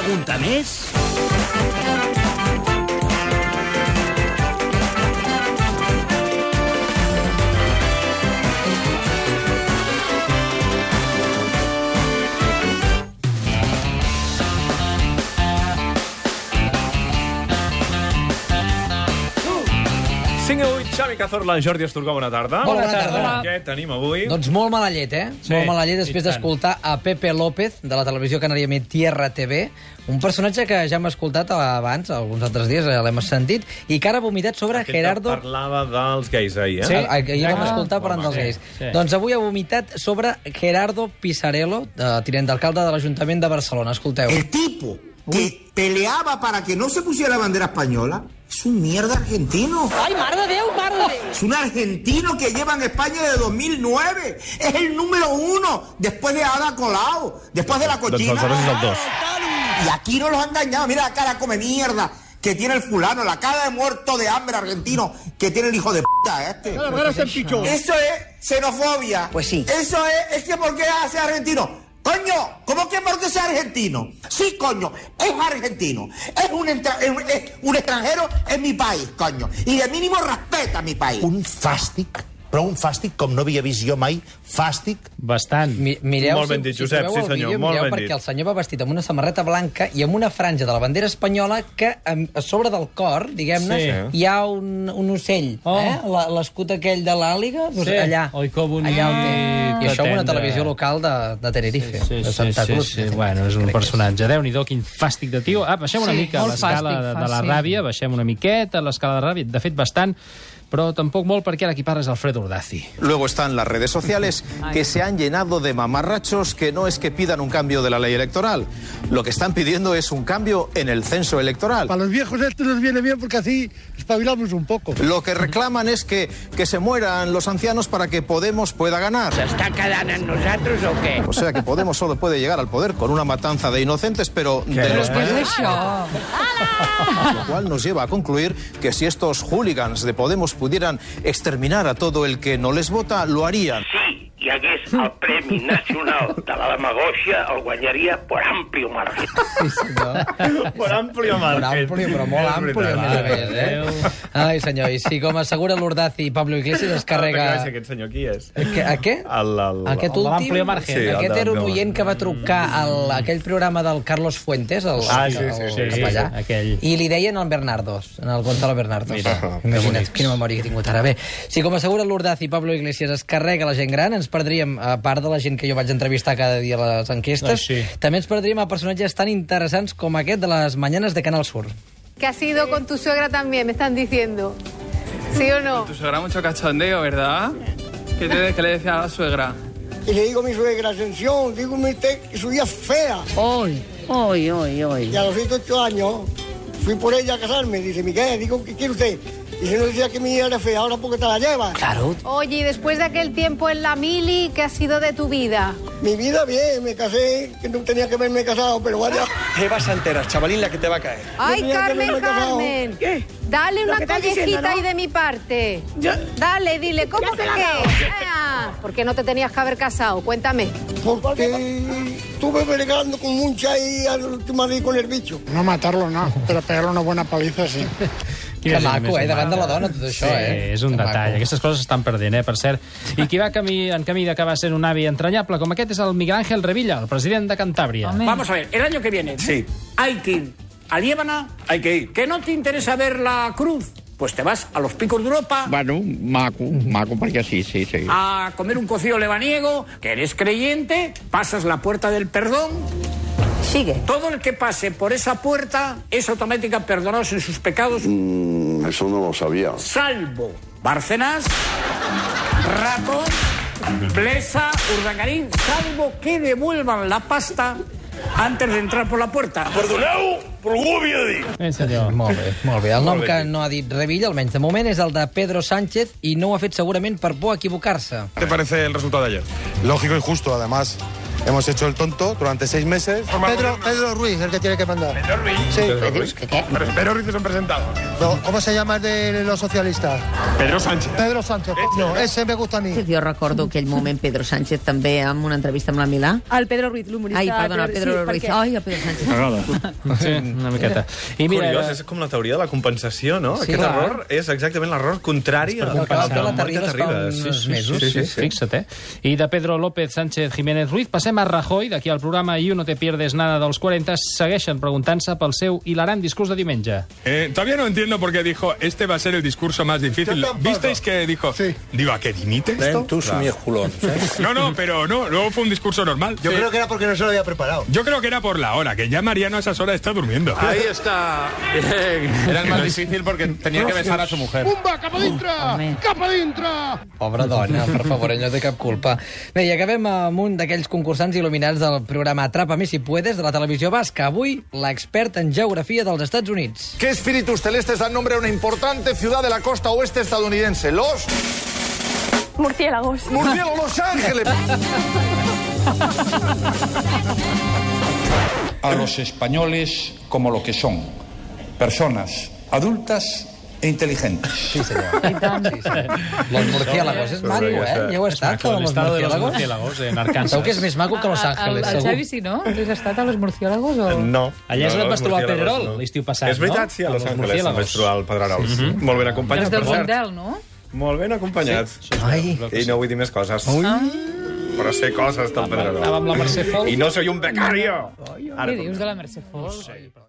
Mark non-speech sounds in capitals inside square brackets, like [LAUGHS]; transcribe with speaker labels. Speaker 1: punta més...
Speaker 2: Cinc avui, Xavi Cazorla, Jordi Esturgó, bona tarda.
Speaker 3: Bona tarda.
Speaker 2: Què tenim avui?
Speaker 3: Doncs molt mala llet, eh?
Speaker 1: Sí,
Speaker 3: molt mala
Speaker 1: i
Speaker 3: llet després
Speaker 1: tant.
Speaker 3: d'escoltar a Pepe López, de la televisió canària Tierra TV, un personatge que ja hem escoltat abans, alguns altres dies, eh, l'hem sentit, i que ara ha vomitat sobre
Speaker 2: Aquest que
Speaker 3: Gerardo... Ah,
Speaker 2: parlava dels gais ahir, eh?
Speaker 3: Sí, ahir vam
Speaker 1: eh? exacte.
Speaker 3: escoltar parlant
Speaker 2: Home, sí,
Speaker 3: dels gais.
Speaker 1: sí.
Speaker 3: Doncs avui ha vomitat sobre Gerardo Pisarello, eh, tinent d'alcalde de l'Ajuntament de Barcelona. Escolteu.
Speaker 4: El tipo que peleaba para que no se pusiera la bandera española es un mierda argentino.
Speaker 5: Ai, mare de Déu, mare de Déu.
Speaker 4: [LAUGHS] Es un argentino que lleva en España desde 2009. Es el número uno después de Ada Colau, después de la
Speaker 2: Doncs aleshores és el [LAUGHS]
Speaker 4: cochina.
Speaker 2: dos.
Speaker 4: Y aquí no los han engañado. Mira la cara come mierda que tiene el fulano, la cara de muerto de hambre argentino que tiene el hijo de puta este.
Speaker 6: em
Speaker 4: Eso es xenofobia.
Speaker 5: Pues sí.
Speaker 4: Eso es, es que porque hace argentino. Coño, ¿cómo que porque es argentino? Sí, coño, es argentino. Es un, entra- es un- es un extranjero en mi país, coño. Y de mínimo respeta mi país.
Speaker 7: un fàstic, però un fàstic com no havia vist jo mai, fàstic.
Speaker 1: Bastant.
Speaker 3: Mi, mireu,
Speaker 2: Molt ben
Speaker 3: si-
Speaker 2: dit,
Speaker 3: si
Speaker 2: Josep, sí,
Speaker 3: trobeu el
Speaker 2: senyor,
Speaker 3: vídeo,
Speaker 2: molt
Speaker 3: mireu,
Speaker 2: ben
Speaker 3: perquè
Speaker 2: dit.
Speaker 3: el senyor va vestit amb una samarreta blanca i amb una franja de la bandera espanyola que em- a sobre del cor, diguem-ne,
Speaker 1: Sí.
Speaker 3: hi ha un, un ocell,
Speaker 1: Oh.
Speaker 3: eh? La- l'escut aquell de l'àliga, doncs
Speaker 1: Sí.
Speaker 3: allà.
Speaker 1: Oi, que bonic,
Speaker 3: Allà on té.
Speaker 1: que
Speaker 3: I això amb una
Speaker 1: tendre.
Speaker 3: televisió local de, de Tenerife,
Speaker 1: Sí,
Speaker 3: de
Speaker 1: sí,
Speaker 3: Santa
Speaker 1: sí,
Speaker 3: Cruz.
Speaker 1: sí, bueno, és un
Speaker 3: [LAUGHS]
Speaker 1: personatge. Déu-n'hi-do, quin fàstic de tio. Ah, baixem una
Speaker 8: Sí,
Speaker 1: mica a
Speaker 8: molt
Speaker 1: l'escala
Speaker 8: fàstic,
Speaker 1: de, de la
Speaker 8: fàstic.
Speaker 1: ràbia, baixem una miqueta a l'escala de ràbia, de fet, bastant, però tampoc molt, perquè ara qui parla és Alfredo Ordazi.
Speaker 9: Luego están las redes [LAUGHS] sociales que se han llenado de mamarrachos que no es que pidan un cambio de la ley electoral. Lo que están pidiendo es un cambio en el censo electoral.
Speaker 10: Para los viejos esto nos viene bien porque así espabilamos un poco.
Speaker 9: Lo que reclaman es que, que se mueran los ancianos para que Podemos pueda ganar. ¿Se está quedando en nosotros o qué? O sea que Podemos solo puede llegar al poder con una matanza de inocentes, pero de los
Speaker 8: Què és
Speaker 9: mayores.
Speaker 8: això?
Speaker 9: Lo cual nos lleva a concluir que si estos hooligans de Podemos pudieran exterminar a todo el que no les vota, lo harían.
Speaker 6: si hi hagués el Premi Nacional de la Demagògia, el guanyaria per ampli marge.
Speaker 3: Sí, senyor.
Speaker 2: Per ampli o margen.
Speaker 3: Molt ampli, però molt
Speaker 2: És
Speaker 3: ampli,
Speaker 2: veritat.
Speaker 3: a més a més, eh? Ai, senyor, i sí, com assegura l'Urdazi i Pablo Iglesias, es carrega...
Speaker 2: Ah, Aquest senyor qui és?
Speaker 3: Que, a què?
Speaker 2: El- el-
Speaker 3: aquest
Speaker 1: el de
Speaker 3: últim,
Speaker 1: l'Amplio Margen.
Speaker 2: Sí, el
Speaker 3: aquest
Speaker 2: de-
Speaker 3: era un
Speaker 2: de-
Speaker 3: oient que va trucar al, aquell programa del Carlos Fuentes, el,
Speaker 2: Ah, sí, sí,
Speaker 3: el,
Speaker 2: sí,
Speaker 3: el
Speaker 2: sí,
Speaker 3: capellà,
Speaker 1: sí, aquell.
Speaker 3: i li deien el Bernardos, en el Gonzalo Bernardos.
Speaker 1: Mira, que
Speaker 3: Imagina't
Speaker 1: bonics.
Speaker 3: quina memòria que he tingut ara. Bé, si com assegura l'Urdaz i Pablo Iglesias es carrega la gent gran, ens perdríem, a part de la gent que jo vaig entrevistar cada dia a les enquestes,
Speaker 1: Ai, sí.
Speaker 3: també ens perdríem a personatges tan interessants com aquest de les Mañanes de Canal Sur.
Speaker 11: Que has ido con tu suegra también, me están diciendo. ¿Sí o no?
Speaker 6: Tu suegra mucho cachondeo, ¿verdad? ¿Qué, te, ¿Qué le decía a la suegra?
Speaker 10: Y le digo a mi suegra, atención, dígame usted que su vida es fea.
Speaker 8: Hoy, hoy, hoy, hoy.
Speaker 10: Y a los 108 años fui por ella a casarme. Dice, Miguel, digo, ¿qué quiere usted? Dice, no decía que mi hija era fea, ahora porque te la llevas.
Speaker 3: Claro.
Speaker 11: Oye, y después de aquel tiempo en la mili, ¿qué ha sido de tu vida?
Speaker 10: Mi vida bien, me casé, que no tenía que haberme casado, pero vaya.
Speaker 9: Te vas a enterar, chavalín, la que te va a caer.
Speaker 11: Ay,
Speaker 10: mira que no me
Speaker 11: Carmen,
Speaker 10: he casado.
Speaker 11: Carmen. Dale una collejita ahí de mi parte. Dale, dile, ¿cómo que qué? Ah, ¿Por qué no te tenías que haber casado? Cuéntame.
Speaker 10: Porque estuve bregando con mucha y al último día con el bicho.
Speaker 7: No matar-lo, no, però pegar-lo una bona paliza, sí.
Speaker 3: Que
Speaker 1: gent
Speaker 3: maco,
Speaker 1: més
Speaker 3: eh? Davant de la
Speaker 1: humana.
Speaker 3: dona, tot això,
Speaker 1: sí,
Speaker 3: eh?
Speaker 1: és un
Speaker 3: Que
Speaker 1: detall.
Speaker 3: maco.
Speaker 1: Aquestes coses s'estan perdent, eh, per cert. I qui va camí, en camí d'acabar sent un avi entranyable com aquest és el Miguel Ángel Revilla, el president de Cantàbria.
Speaker 8: Home.
Speaker 6: Vamos a ver, el año que viene
Speaker 9: Sí.
Speaker 6: hay que ir a Liébana. Hay que ir. ¿Que no te interesa ver la cruz? Pues te vas a los picos de Europa.
Speaker 7: Bueno, maco, maco, perquè sí, sí, sí.
Speaker 6: a comer un cocido lebaniego, que eres creyente, pasas la puerta del perdón.
Speaker 5: Sigue.
Speaker 6: Todo el que pase por esa puerta es automáticamente perdonado en sus pecados,
Speaker 10: Mm, Eso no lo sabía.
Speaker 6: salvo Bárcenas, Rato, Blesa, Urdangarín, salvo que devuelvan la pasta antes de entrar por la puerta.
Speaker 1: Eh, senyor.
Speaker 3: [LAUGHS] Molt bé, molt bé. El nom que no ha dit Revilla, almenys de moment, és el de Pedro Sánchez i no ho ha fet segurament per por a equivocar-se.
Speaker 10: Lógico y justo, además.
Speaker 12: Hemos hecho el tonto durante seis meses.
Speaker 7: Pedro, Pedro Ruiz, el que tiene que mandar. ¿Pedro Ruiz? Sí.
Speaker 12: Pedro Ruiz.
Speaker 7: Pero Pedro Ruiz es un presentado. No, ¿cómo se llama el de los socialistas?
Speaker 11: Pedro Sánchez.
Speaker 7: Pedro Sánchez, no, ese me gusta a mi.
Speaker 11: Jo recordo aquell moment Pedro Sánchez també amb una entrevista amb la Milà.
Speaker 6: El Pedro Ruiz, l'humorista.
Speaker 11: Ai, perdona, el Pedro Ruiz. Ai, el Pedro Sánchez.
Speaker 13: M'agrada.
Speaker 1: Sí, una miqueta.
Speaker 13: I mira,
Speaker 14: Curiós,
Speaker 13: era-
Speaker 14: és com la teoria de la compensació, no?
Speaker 1: eh, Sí,
Speaker 14: Aquest
Speaker 1: clar.
Speaker 14: error és exactament l'error contrari al que
Speaker 1: Compensar.
Speaker 14: la mort de Terribas.
Speaker 1: Sí, sí, sí, sí, sí. Fixa't, eh? I de Pedro López Sánchez Jiménez Ruiz passem a Rajoy. D'aquí al programa You no te pierdes nada dels 40 segueixen preguntant-se pel seu hilarant discurs de diumenge.
Speaker 9: Eh, todavía no entiendo por qué dijo, este va a ser el discurso más difícil. ¿Visteis que dijo, digo, a que dimite esto?
Speaker 15: Ven tus
Speaker 9: Claro.
Speaker 15: miesculones, ¿eh?
Speaker 9: [LAUGHS] No, no, pero no, luego fue un discurso normal.
Speaker 15: Yo
Speaker 9: Sí.
Speaker 15: creo que era porque no se lo había preparado.
Speaker 9: Yo creo que era por la hora, que ya Mariano a esas horas está durmiendo.
Speaker 15: Ahí
Speaker 9: está.
Speaker 15: Era el más
Speaker 9: difícil porque
Speaker 15: tenía que besar a su
Speaker 9: mujer.
Speaker 7: ¡Pumba, capa dintre! Capa dintre!
Speaker 3: Pobra dona, per favor, ell no té cap culpa. Bé, i acabem amb un d'aquells concursants il·luminats del programa Atrápame si puedes de la televisió basca. Avui, l'expert en geografia dels Estats Units.
Speaker 16: ¿Qué espíritus celestes dan nombre a una importante ciudad de la costa oeste estadounidense? Los
Speaker 6: Murciélagos.
Speaker 16: murciélagos Los Ángeles.
Speaker 17: a los españoles como lo que son, personas adultas e inteligentes. Sí, señor.
Speaker 3: Los murciélagos, és maco, eh? Ja heu estat,
Speaker 17: maco,
Speaker 3: a
Speaker 17: el
Speaker 3: los
Speaker 17: estado de los
Speaker 3: murciélagos.
Speaker 17: murciélagos
Speaker 1: en Arkansas.
Speaker 3: Segur que és més maco que Los Ángeles,
Speaker 6: Ah, el, el
Speaker 3: segur.
Speaker 6: Xavi sí, no? Tu has estat a los murciélagos o...?
Speaker 14: No.
Speaker 1: Allà és
Speaker 14: no,
Speaker 1: on et vas
Speaker 14: els
Speaker 1: trobar
Speaker 14: murciélagos,
Speaker 1: Pedrerol
Speaker 14: no.
Speaker 1: l'estiu passat,
Speaker 14: És veritat,
Speaker 1: no?
Speaker 14: sí, a Los
Speaker 1: Amb els
Speaker 14: Ángeles em
Speaker 1: murciélagos. Mhm.
Speaker 14: vaig trobar el Pedrerol.
Speaker 1: Sí.
Speaker 14: Sí. Molt ben acompanyat,
Speaker 6: Els del
Speaker 14: per cert.
Speaker 6: Mondel, no?
Speaker 14: Molt ben acompanyat.
Speaker 3: Ai.
Speaker 14: I no vull dir més coses. Però sé coses del Pedrerol.
Speaker 1: Anava amb la Mercè Fol.
Speaker 14: I no soy un becario.
Speaker 6: Què dius de la Mercè Fos? No sé.